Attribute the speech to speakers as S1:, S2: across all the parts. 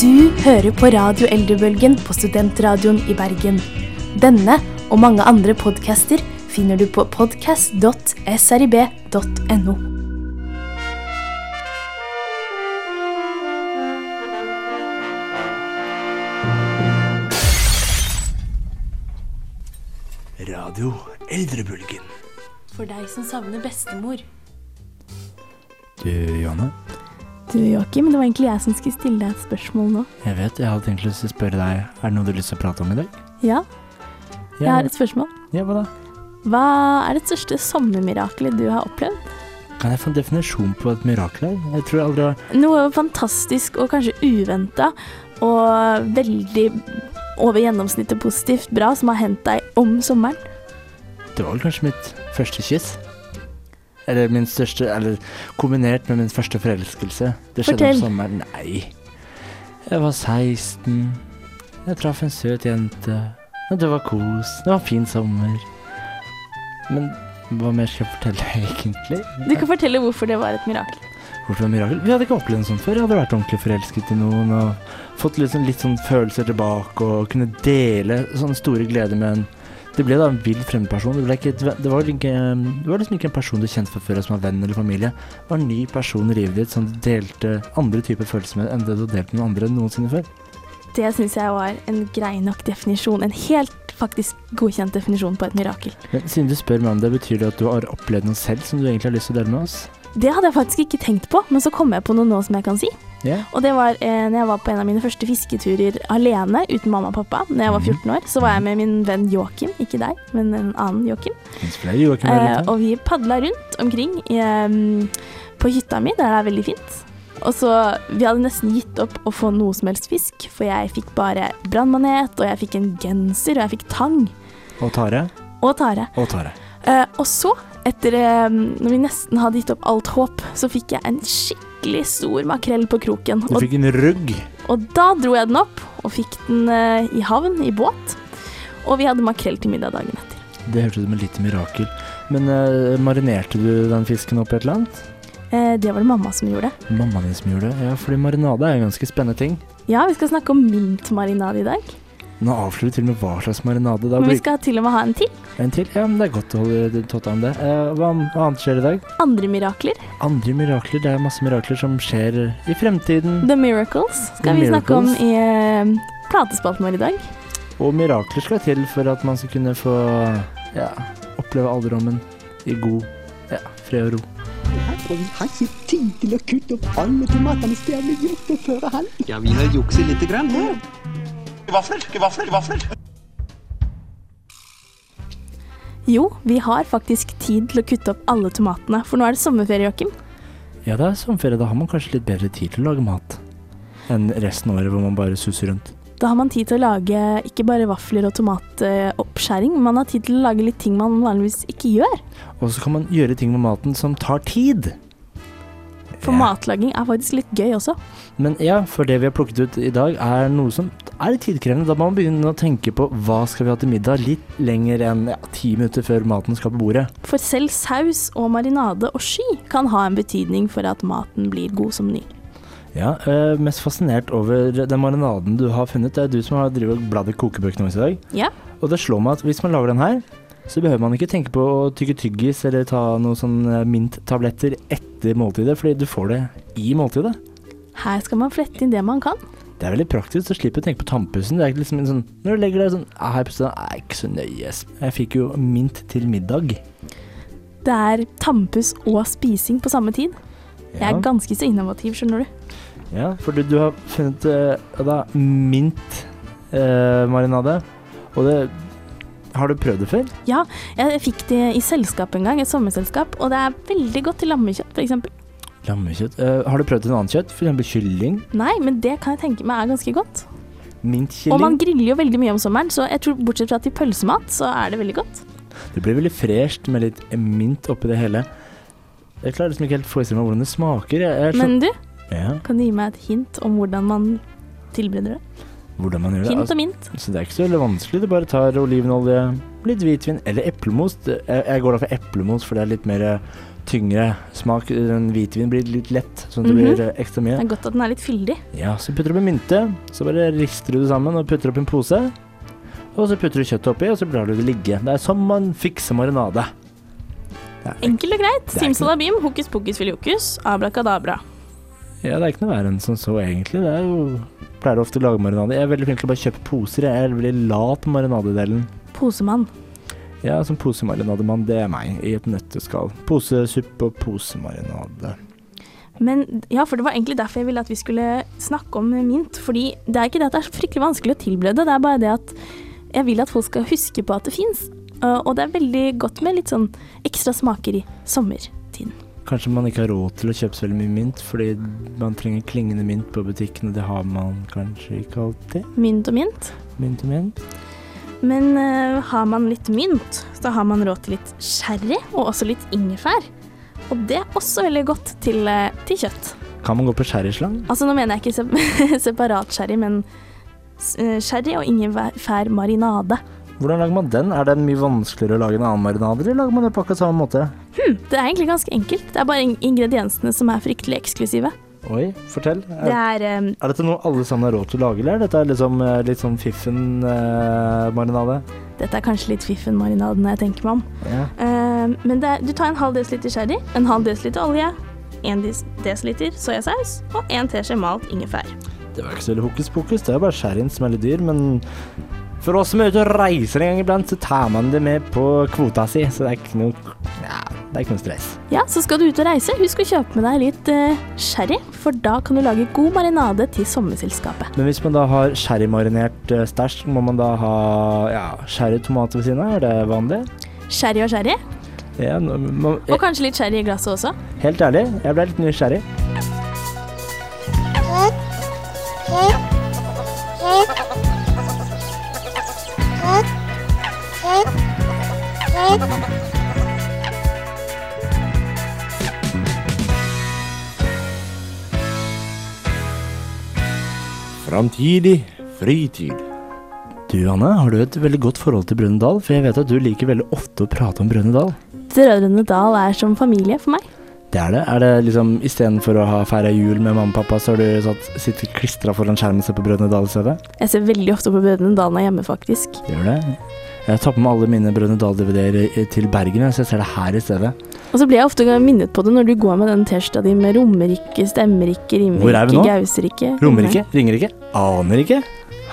S1: Du hører på Radio Eldrebølgen på Studentradioen i Bergen. Denne og mange andre podcaster finner du på podcast.srib.no.
S2: Radio Eldrebølgen.
S1: For deg som savner bestemor.
S2: Du, Johanne.
S1: Du, Joakim, det var egentlig jeg som skulle stille deg et spørsmål nå.
S2: Jeg vet, jeg hadde tenkt lyst til å spørre deg, er det noe du har lyst til å prate om i dag?
S1: Ja, jeg har et spørsmål.
S2: ja hva da?
S1: Hva er det største sommermiraklet du har opplevd?
S2: Kan jeg få en definisjon på et mirakel her? Jeg tror jeg aldri har
S1: Noe fantastisk og kanskje uventa, og veldig over gjennomsnittet positivt bra som har hendt deg om sommeren.
S2: Det var vel kanskje mitt første kyss? Eller min største Eller kombinert med min første forelskelse. Det skjedde
S1: Fortell.
S2: om sommeren. Nei. Jeg var 16. Jeg traff en søt jente. Og det var kos. Det var en fin sommer. Men hva mer skal jeg fortelle, egentlig?
S1: Du kan fortelle hvorfor det var et mirakel.
S2: Hvorfor en mirakel? Vi hadde ikke opplevd noe sånt før. Jeg hadde vært ordentlig forelsket i noen og fått litt sånn, litt sånn følelser tilbake og kunne dele sånne store gleder med en Det ble da en vill fremmedperson. Det, ble ikke, et ve- det, var ikke, det var liksom ikke en person du kjente fra før som var venn eller familie. Det var en ny person i livet ditt som du delte andre typer følelser med enn det du delte med noen andre noensinne før.
S1: Det syns jeg var en grei nok definisjon. En helt faktisk godkjent definisjon på et mirakel.
S2: Men siden du spør meg om det, betyr det at du har opplevd noe selv som du egentlig har lyst til å dele med oss?
S1: Det hadde jeg faktisk ikke tenkt på, men så kom jeg på noe nå som jeg kan si.
S2: Ja.
S1: Og det var eh, når jeg var på en av mine første fisketurer alene uten mamma og pappa. Når jeg var 14 år, så var jeg med min venn Joakim, ikke deg, men en annen Joakim.
S2: Det finnes flere Joakim
S1: Eh,
S2: Vellita.
S1: og vi padla rundt omkring i, em, på hytta mi, der det er veldig fint. Og så, Vi hadde nesten gitt opp å få noe som helst fisk, for jeg fikk bare brannmanet, og jeg fikk en genser, og jeg fikk tang
S2: Og Tare.
S1: og tare.
S2: Og Tare.
S1: Eh, og så, etter eh, når vi nesten hadde gitt opp alt håp, så fikk jeg en skikkelig stor makrell på kroken.
S2: Du
S1: Og,
S2: fikk en rugg.
S1: og da dro jeg den opp og fikk den eh, i havn, i båt. Og vi hadde makrell til middag dagen etter.
S2: Det hørtes ut som et lite mirakel. Men eh, marinerte du den fisken opp i et eller annet?
S1: Eh, det var det mamma som gjorde.
S2: Mammaen din som gjorde det? Ja, fordi marinade er jo en ganske spennende ting.
S1: Ja, vi skal snakke om mintmarinade i dag.
S2: Nå avslører du til og med hva slags marinade. Da
S1: Men vi
S2: blir
S1: skal til og med ha en til.
S2: en til. Ja, men det er godt å holde totta om det. Eh, hva, an- hva annet skjer i dag?
S1: Andre mirakler.
S2: Andre mirakler. Det er masse mirakler som skjer i fremtiden.
S1: The Miracles skal
S2: The
S1: vi snakke om
S2: Miracles.
S1: i eh, platespalten vår i dag.
S2: Og mirakler skal til for at man skal kunne få ja, oppleve alderdommen i god ja, fred og ro.
S3: Og vi har ikke tid til å kutte opp alle tomatene som er blitt gjort opp før halv.
S4: Ja, vi har jukset lite grann her. Vafler, vafler, vafler.
S1: Jo, vi har faktisk tid til å kutte opp alle tomatene, for nå er det sommerferie, Joakim.
S2: Ja, det er sommerferie. Da har man kanskje litt bedre tid til å lage mat enn resten av året hvor man bare suser rundt.
S1: Da har man tid til å lage ikke bare vafler og tomatoppskjæring, man har tid til å lage litt ting man vanligvis ikke gjør.
S2: Og så kan man gjøre ting med maten som tar tid.
S1: For
S2: Ja.
S1: matlaging er faktisk litt gøy også.
S2: Men ja, for det vi har plukket ut i dag er noe som er litt tidkrevende. Da må man begynne å tenke på hva skal vi ha til middag litt lenger enn ja, ti minutter før maten skal på bordet.
S1: For selv saus og marinade og sky kan ha en betydning for at maten blir god som ny.
S2: Ja, øh, Mest fascinert over den marinaden du har funnet. Det er du som har drivet og bladd i kokebøkene våre i dag.
S1: Ja.
S2: Og det slår meg at hvis man lager den her, så behøver man ikke tenke på å tygge tyggis eller ta noen sånne minttabletter etter måltidet, fordi du får det i måltidet.
S1: Her skal man flette inn det man kan.
S2: Det er veldig praktisk, så slipper du å tenke på tannpussen. Det er ikke liksom en sånn, når du legger deg sånn ah, her på stedet, er ikke så nøye. ass». Jeg fikk jo mint til middag.
S1: Det er tannpuss og spising på samme tid. Jeg
S2: Ja.
S1: er ganske så innovativ, skjønner du.
S2: Ja, for du, du har funnet eh, da, mint eh, marinade. Og det Har du prøvd det før?
S1: Ja, jeg fikk det i selskap en gang, et sommerselskap, og det er veldig godt til lammekjøtt, f.eks.
S2: Lammekjøtt. Eh, har du prøvd til noe annet kjøtt? F.eks. kylling?
S1: Nei, men det kan jeg tenke meg er ganske godt. Og man
S2: Mintkylling?
S1: griller jo veldig mye om sommeren, så jeg tror bortsett fra til pølsemat, så er det veldig godt.
S2: Det blir veldig fresht med litt eh, mint oppi det hele. Jeg klarer liksom ikke helt å forestille meg hvordan det smaker. Jeg, jeg er
S1: Men du,
S2: sånn, ja,
S1: kan du gi meg et hint om hvordan man tilbereder det?
S2: hvordan man gjør det.
S1: Hint
S2: Altså,
S1: og mint.
S2: så det er ikke så veldig vanskelig. Du bare tar olivenolje, Litt hvitvin eller eplemos. Det- Jeg, jeg går da for eplemos, for det er litt mer eh, tyngre smak. Den hvitvin blir litt lett, sånn at det
S1: Mhm.
S2: blir eh, ekstra mye.
S1: Det er godt at den er litt fyldig.
S2: Ja, så putter du med mynte, så bare rister du det sammen og putter opp i en pose. Og så putter du kjøttet oppi, og så lar du det ligge. Det er sånn man fikser marinade. Det er,
S1: Enkelt og greit.
S2: er ikke noe-
S1: Simsalabim, hokus pokus filiokus, ablakadabra.
S2: ja, det er ikke noe verre enn som så, egentlig. Det er jo Pleier ofte å lage marinade. Jeg er veldig flink til å bare kjøpe poser. Jeg er veldig lat på marinadedelen.
S1: Posemann.
S2: Ja, som posemarinademann, det er meg. I et nøtteskall. Posesuppe og posemarinade.
S1: Men ja, for det var egentlig derfor jeg ville at vi skulle snakke om mint. Fordi det er ikke det at det er så fryktelig vanskelig å tilberede, det er bare det at jeg vil at folk skal huske på at det fins. Og det er veldig godt med litt sånn ekstra smaker i sommertiden.
S2: Kanskje man ikke har råd til å kjøpe så veldig mye mynt, fordi man trenger klingende mynt på butikken, og det har man kanskje ikke alltid.
S1: Mynt og mynt.
S2: Mynt og mynt.
S1: Men eh, har man litt mynt, så har man råd til litt sherry og også litt ingefær. Og det er også veldig godt til, eh, til kjøtt.
S2: Kan man gå på sherryslang?
S1: Altså, nå mener jeg ikke se- separat sherry, men s- eh, sherry og ingefær marinade.
S2: Hvordan lager man den? Er den mye vanskeligere å lage enn annen marinade, eller lager man det på akkurat samme måte?
S1: Det er egentlig ganske enkelt. Det er bare in- ingrediensene som er fryktelig eksklusive.
S2: Oi, fortell.
S1: Det er
S2: Er,
S1: eh,
S2: er dette noe alle sammen har råd til å lage, eller er dette liksom, eh, litt sånn eh, fiffen-marinade?
S1: Dette er kanskje litt fiffen-marinaden jeg tenker meg om.
S2: ja.
S1: Eh, men det er, du tar en halv desiliter sherry, en halv desiliter olje, en dis- desiliter soyasaus og en teskje malt ingefær.
S2: Det var ikke så veldig hokus pokus, det er bare sherryen som er litt dyr, men for oss som er ute og reiser en gang iblant, så tar man det med på kvota si, så det er ikke noe, ja, det er ikke noe stress.
S1: Ja, så skal du ut og reise, husk å kjøpe med deg litt eh, sherry, for da kan du lage god marinade til sommerselskapet.
S2: Men hvis man da har sherrymarinert eh, stæsj, må man da ha ja, sherrytomater ved siden av? Er det vanlig?
S1: Sherry og sherry,
S2: Ja, nå- man,
S1: og kanskje litt sherry i glasset også.
S2: Helt ærlig, jeg ble litt nysgjerrig.
S5: Framtidig fritid.
S2: Du, Anne, har du et veldig godt forhold til Brønnøydal? For jeg vet at du liker veldig ofte å prate om Brønnøydal.
S1: Drødrene Dal er som familie for meg.
S2: Det er det. Er det liksom istedenfor å ha feira jul med mamma og pappa, så har du satt, sittet klistra foran skjermen og sett på Brønnøydal i stedet?
S1: Jeg ser veldig ofte på Brødrene Dal når jeg er hjemme, faktisk.
S2: Gjør det. Jeg tar på meg alle mine Brønnøydal-DVD-er til Bergen, så jeg ser det her i stedet.
S1: Og så blir jeg ofte minnet på det når du går med den T-skjorta di med Romerike, Stemmerike,
S2: Hvor er
S1: Rimerike,
S2: vi nå?
S1: Gauserike
S2: Romerike? Ringerike? Aner ikke.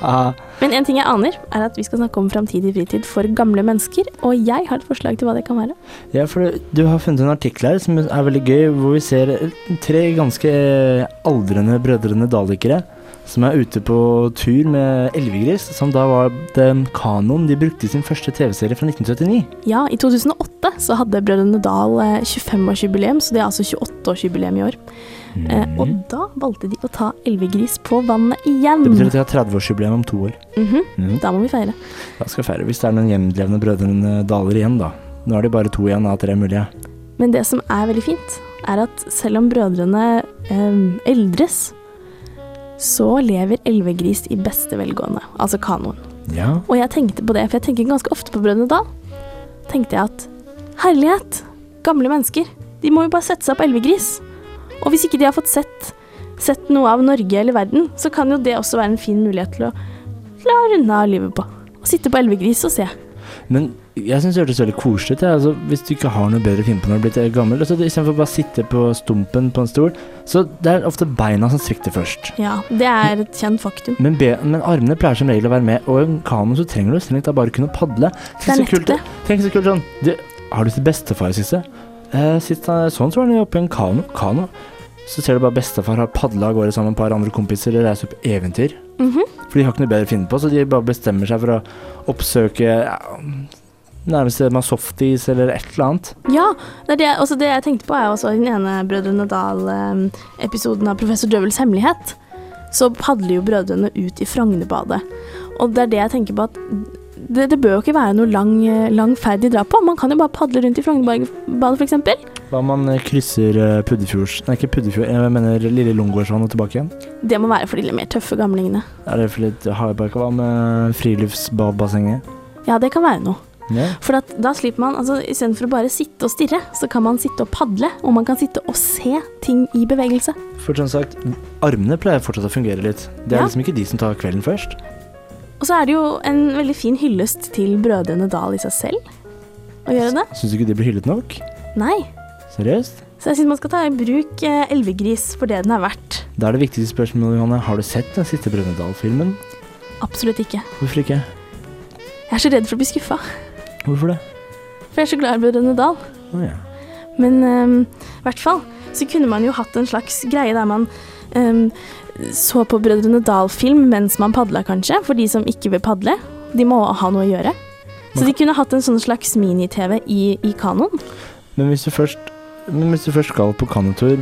S2: Ha.
S1: Men en ting jeg aner, er at vi skal snakke om framtidig fritid for gamle mennesker, og jeg har et forslag til hva det kan være.
S2: Ja, for du- du har funnet en artikkel her som er veldig gøy, hvor vi ser tre ganske aldrende brødrene dalekere som er ute på tur med Elvegris, som da var den kanoen de brukte i sin første TV-serie fra 1979.
S1: Ja, i 2008 så hadde Brødrene Dal eh, 25-årsjubileum, så det er altså 28-årsjubileum i år.
S2: Mm. Mhm.
S1: Eh, Og da valgte de å ta Elvegris på vannet igjen.
S2: Det betyr at de har 30-årsjubileum om to år.
S1: Mhm,
S2: Mhm.
S1: Da må vi feire.
S2: Da skal jeg feire hvis det er noen hjemlevende brødrene eh, daler igjen, da. Nå er det bare to igjen av tre mulige.
S1: Men det som er veldig fint, er at selv om brødrene eh, eldres, så lever Elvegris i beste velgående, altså kanoen.
S2: Ja.
S1: Og jeg tenkte på det, for jeg tenker ganske ofte på Brødrene Dal. Tenkte jeg at herlighet, gamle mennesker, de må jo bare sette seg på elvegris. Og hvis ikke de har fått sett, sett noe av Norge eller verden, så kan jo det også være en fin mulighet til å, til å runde av livet på. Å sitte på elvegris og se.
S2: Men jeg syns det hørtes veldig koselig ut. jeg. Altså, hvis du ikke har noe bedre å finne på når du er blitt eh, gammel, så istedenfor bare å sitte på stumpen på en stol Så det er ofte beina som svikter først.
S1: Ja, det er et kjent faktum.
S2: Men, be men armene pleier som regel å være med, og i en kano så trenger du strengt tatt bare kunne padle.
S1: Det er
S2: så kult,
S1: nettopp det.
S2: Tenk så kult sånn du, Har du sett bestefar siste? Eh, sist eh, sånn så var han oppe i en kano. kano. Så ser du bare bestefar har padla av gårde sammen med et par andre kompiser og reist opp på eventyr.
S1: Mhm.
S2: For de har ikke noe bedre å finne på, så de bare bestemmer seg for å oppsøke ja, nærmeste med softis eller et eller annet.
S1: Ja, det, er det, også det jeg tenkte på er jo også den ene Brødrene Dal-episoden av Professor Døvels hemmelighet. Så padler jo brødrene ut i Frognerbadet. Og det er det jeg tenker på at det, det bør jo ikke være noe lang, eh, lang ferd de drar på. Man kan jo bare padle rundt i Frognerbadet, f.eks.
S2: Hva om man eh, krysser eh, Puddefjords Nei, ikke Puddefjord, jeg mener Lille Lungegårdsvann og tilbake igjen.
S1: Det må være for de litt mer tøffe gamlingene.
S2: eh, Er det for litt hardbarka? Hva med friluftsbadbassenget?
S1: Ja, det kan være noe.
S2: Ja.
S1: For at da slipper man, altså Istedenfor å bare sitte og stirre, så kan man sitte og padle. Og man kan sitte og se ting i bevegelse.
S2: For som sagt, armene pleier fortsatt å fungere litt. Det
S1: Ja.
S2: er liksom ikke de som tar kvelden først.
S1: Og så er det jo en veldig fin hyllest til Brødrene Dal i seg selv å gjøre det.
S2: Syns du ikke de blir hyllet nok?
S1: Nei.
S2: Seriøst?
S1: Så jeg syns man skal ta i bruk eh, elvegris for det den er verdt.
S2: Da er det viktigste spørsmålet, Johanne, har du sett den siste Brønnøydal-filmen?
S1: Absolutt ikke.
S2: Hvorfor ikke?
S1: Jeg er så redd for å bli skuffa,
S2: Hvorfor det?
S1: for jeg er så glad i Brødrene Dal.
S2: Å ja.
S1: Men ehm, i hvert fall så kunne man jo hatt en slags greie der man ehm, så på Brødrene Dal-film mens man padla, kanskje. For de som ikke vil padle. De må ha noe å gjøre. Så de kunne hatt en sånn slags mini-TV i, i kanoen.
S2: Men hvis du først, men hvis du først skal på kanotur,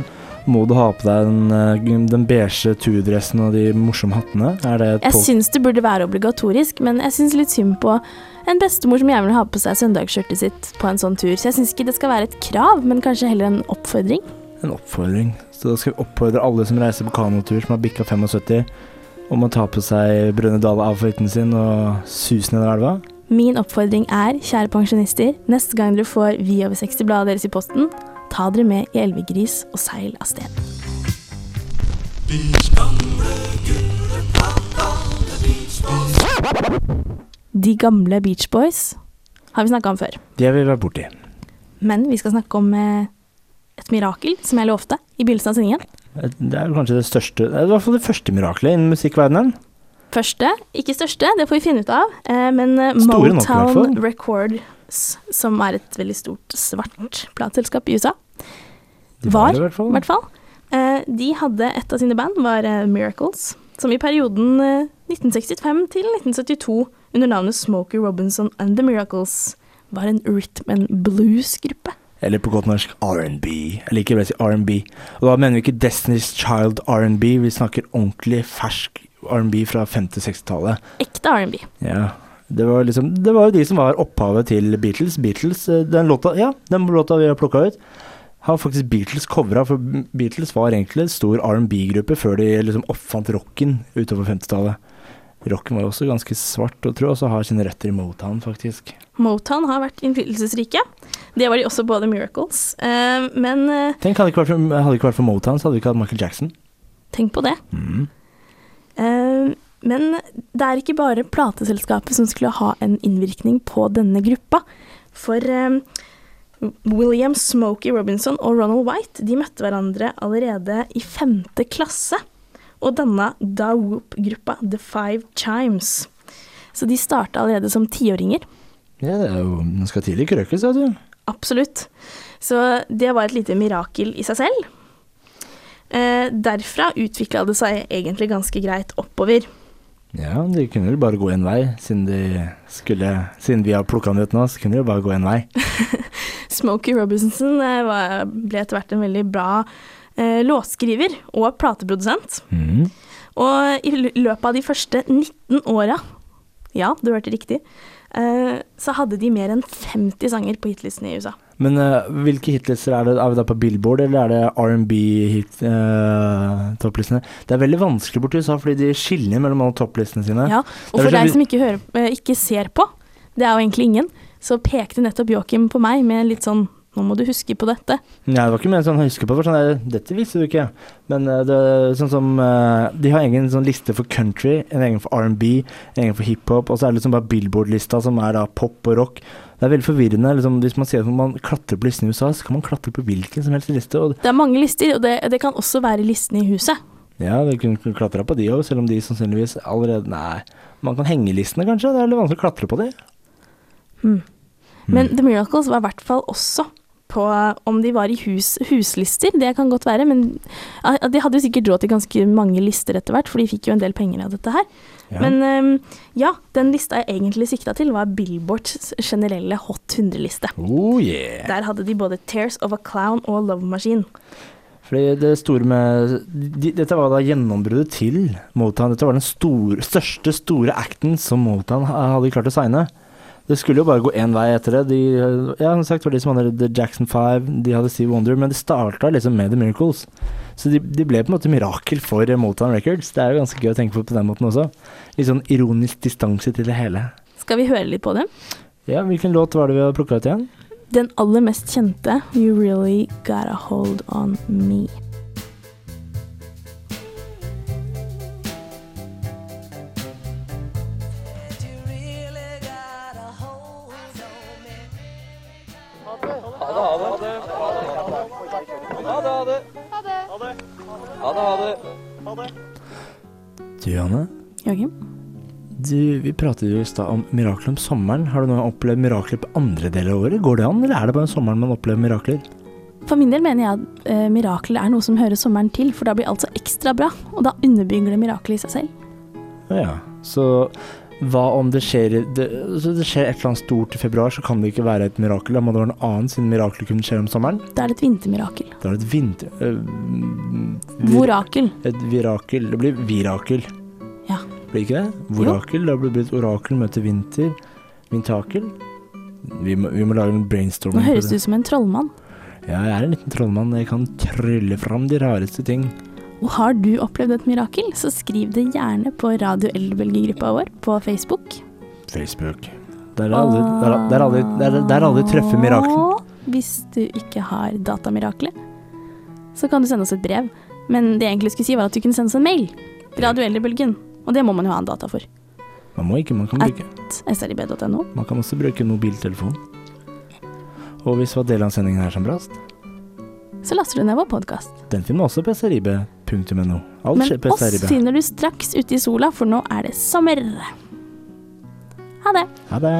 S2: må du ha på deg den, eh, den beige tudressen og de morsomme hattene? Er det et
S1: Jeg
S2: pol-
S1: syns det burde være obligatorisk, men jeg syns litt synd på en bestemor som gjerne vil ha på seg søndagsskjørtet sitt på en sånn tur. Så jeg syns ikke det skal være et krav, men kanskje heller en oppfordring.
S2: en oppfordring? Så da skal vi oppfordre alle som reiser på kanotur som har bikka 75, om å ta på seg Brønnøydal-outfiten sin og suse ned elva?
S1: Min oppfordring er, kjære pensjonister, neste gang dere får Vi over 60-bladet deres i posten, ta dere med i elvegris og seil av sted. De gamle Beach Boys har vi snakka om før,
S2: Det har vi vært borti.
S1: men vi skal snakke om eh, et mirakel, som jeg lovte i begynnelsen av sendingen.
S2: Det er kanskje det største Det er i hvert fall det første mirakelet innen musikkverdenen.
S1: Første, ikke største, det får vi finne ut av, eh, men eh,
S2: Store nok, i hvert
S1: Motown
S2: fall.
S1: Records, som er et veldig stort svart plateselskap i USA,
S2: De
S1: Var,
S2: det i hvert fall.
S1: i hvert fall. Eh, de hadde et av sine band, var eh, Miracles, som i perioden eh, 1965 til 1972 under navnet Smokey Robinson and The Miracles var en rhythm and blues-gruppe.
S2: Eller på godt norsk R&B. Jeg liker å si R&B. Og da mener vi ikke Destiny's Child R&B, vi snakker ordentlig fersk R&B fra 50-60-tallet.
S1: Ekte R&B.
S2: Ja. Det var, liksom, det var jo de som var opphavet til Beatles. Beatles, eh, Den låta ja, den låta vi har plukka ut, har faktisk Beatles covra. For Beatles var egentlig en stor R&B-gruppe før de liksom oppfant rocken utover 50-tallet. Rocken var jo også ganske svart, og tror jeg også har sine røtter i Motown, faktisk.
S1: Motown har vært innflytelsesrike. Det var de også både Miracles. Eh, men eh,
S2: Tenk, hadde det ikke vært for, hadde det ikke vært for Motown, så hadde vi ikke hatt Michael Jackson.
S1: tenk på det.
S2: Mm.
S1: Eh, Men det er ikke bare plateselskapet som skulle ha en innvirkning på denne gruppa. For eh, William Smokey Robinson og Ronald White de møtte hverandre allerede i femte klasse og danna Da Whoop-gruppa The Five Chimes. Så de starta allerede som tiåringer.
S2: Ja, det er jo Man skal tidlig krøkes, vet du.
S1: Absolutt. Så det var et lite mirakel i seg selv. Eh, derfra utvikla det seg egentlig ganske greit oppover.
S2: Ja, de kunne jo bare gå en vei, siden de skulle Siden vi har plukka den ut nå, så kunne de jo bare gå en vei.
S1: Smokey Robinson eh, var, ble etter hvert en veldig bra eh, låtskriver og plateprodusent. Og i lø- løpet av de første 19 åra, ja, du hørte riktig, eh, så hadde de mer enn 50 sanger på hitlistene i USA.
S2: Men eh, hvilke hitlister er det? Er vi da på Billboard, eller er det R&B-topplistene? eh, det er veldig vanskelig borti USA, fordi de skiller mellom alle topplistene sine.
S1: Ja, og
S2: Det er
S1: for
S2: vel så
S1: deg
S2: vi-
S1: som ikke, hører, eh, ikke ser på, det er jo egentlig ingen, så pekte nettopp Joakim på meg med litt sånn nå må du huske på dette.
S2: Nei, det var ikke mer sånn huske på, for sånn der, dette visste du ikke. Men eh, det, er sånn som eh, De har egen sånn liste for country, en egen for R&B, en egen for hiphop, og så er det liksom bare Billboard-lista, som er da pop og rock. Det er veldig forvirrende. liksom Hvis man sier at man klatrer på listen i USA, så kan man klatre på hvilken som helst liste. Og
S1: Det er mange lister, og det, det kan også være listene i huset.
S2: ja, du kunne klatra på de òg, selv om de sannsynligvis allerede Nei, man kan henge listene, kanskje. Det er litt vanskelig å klatre på de. Mm.
S1: Men The Miracles var i hvert fall også på om de var i hus, huslister. Det kan godt være, men ja, de hadde jo sikkert råd til ganske mange lister etter hvert, for de fikk jo en del penger av dette her.
S2: Ja.
S1: Men ehm, ja, den lista jeg egentlig sikta til, var Billboards generelle Hot 100-liste.
S2: Oh yeah.
S1: Der hadde de både Tears of a Clown og Love Machine.
S2: Fordi det store med de, Dette var da gjennombruddet til Motown. Dette var den store, største store acten som Motown ha- hadde klart å signe. Det skulle jo bare gå én vei etter det. De, ja, som sagt, var de som hadde The Jackson Five, de hadde Steve Wonder, men det starta liksom med The Miracles. Så de, de ble på en måte mirakel for eh, Motown Records. Det er jo ganske gøy å tenke på på den måten også. Litt sånn ironisk distanse til det hele.
S1: Skal vi høre litt på dem?
S2: Ja, Hvilken låt var det vi hadde plukka ut igjen?
S1: Den aller mest kjente, You Really Got A Hold On Me.
S2: Du, Johanne.
S1: Joakim?
S2: Du, vi pratet jo i stad om mirakler om sommeren. Har du noen opplevd mirakler på andre deler av året? Går det an, eller er det bare om sommeren man opplever mirakler?
S1: For min del mener jeg at eh, mirakler er noe som hører sommeren til, for da blir alt så ekstra bra, og da underbygger det miraklet i seg selv.
S2: Ja, så hva om det skjer det, så det skjer et eller annet stort i februar, så kan det ikke være et mirakel. Da må det være noe annet, siden mirakler kun skjer om sommeren.
S1: Da er det et vintermirakel.
S2: Da er det et vinter... øh, vir-
S1: Vorakel.
S2: Et virakel. Det blir virakel.
S1: Ja.
S2: Blir ikke det? Vorakel. Da blir det et orakel møter vinter. Vintakel. Vi må, vi må lage en brainstorming.
S1: Nå høres
S2: på
S1: du ut som en trollmann.
S2: Ja, jeg er en liten trollmann. Jeg kan trylle fram de rareste ting.
S1: Og har du opplevd et mirakel, så skriv det gjerne på Radio Eldbølgegruppa vår på Facebook.
S2: Facebook. Der er alle, der, er- der er alle, der, er- der er alle treffer mirakler.
S1: Og hvis du ikke har datamiraklet, så kan du sende oss et brev. Men det jeg egentlig skulle si, var at du kunne sende oss en mail. Radio Eldrebølgen. Og det må man jo ha en data for.
S2: Man må ikke, man kan bruke.
S1: srib.no.
S2: Man kan også bruke mobiltelefon. Og hvis det var del av sendingen her som brast,
S1: Så laster du ned vår podkast.
S2: den finner man også på srib.no. Alt
S1: Men
S2: skjer på
S1: oss
S2: srib.
S1: finner du straks ute i sola, for nå er det sommer. Ha det.
S2: Ha det.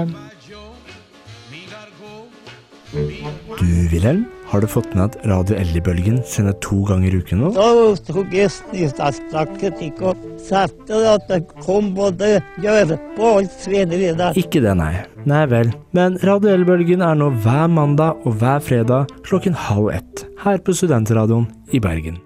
S2: Du, Wilhelm, har du fått med at Radio Ellie-bølgen sender to ganger i uken nå?
S6: Da tok jeg snisakket ikke og satte det at det kom både Gjørpe og Svedevida.
S2: Ikke det, nei. Nei vel. Men Radio Elbølgen er nå hver mandag og hver fredag klokken halv ett her på Studentradioen i Bergen.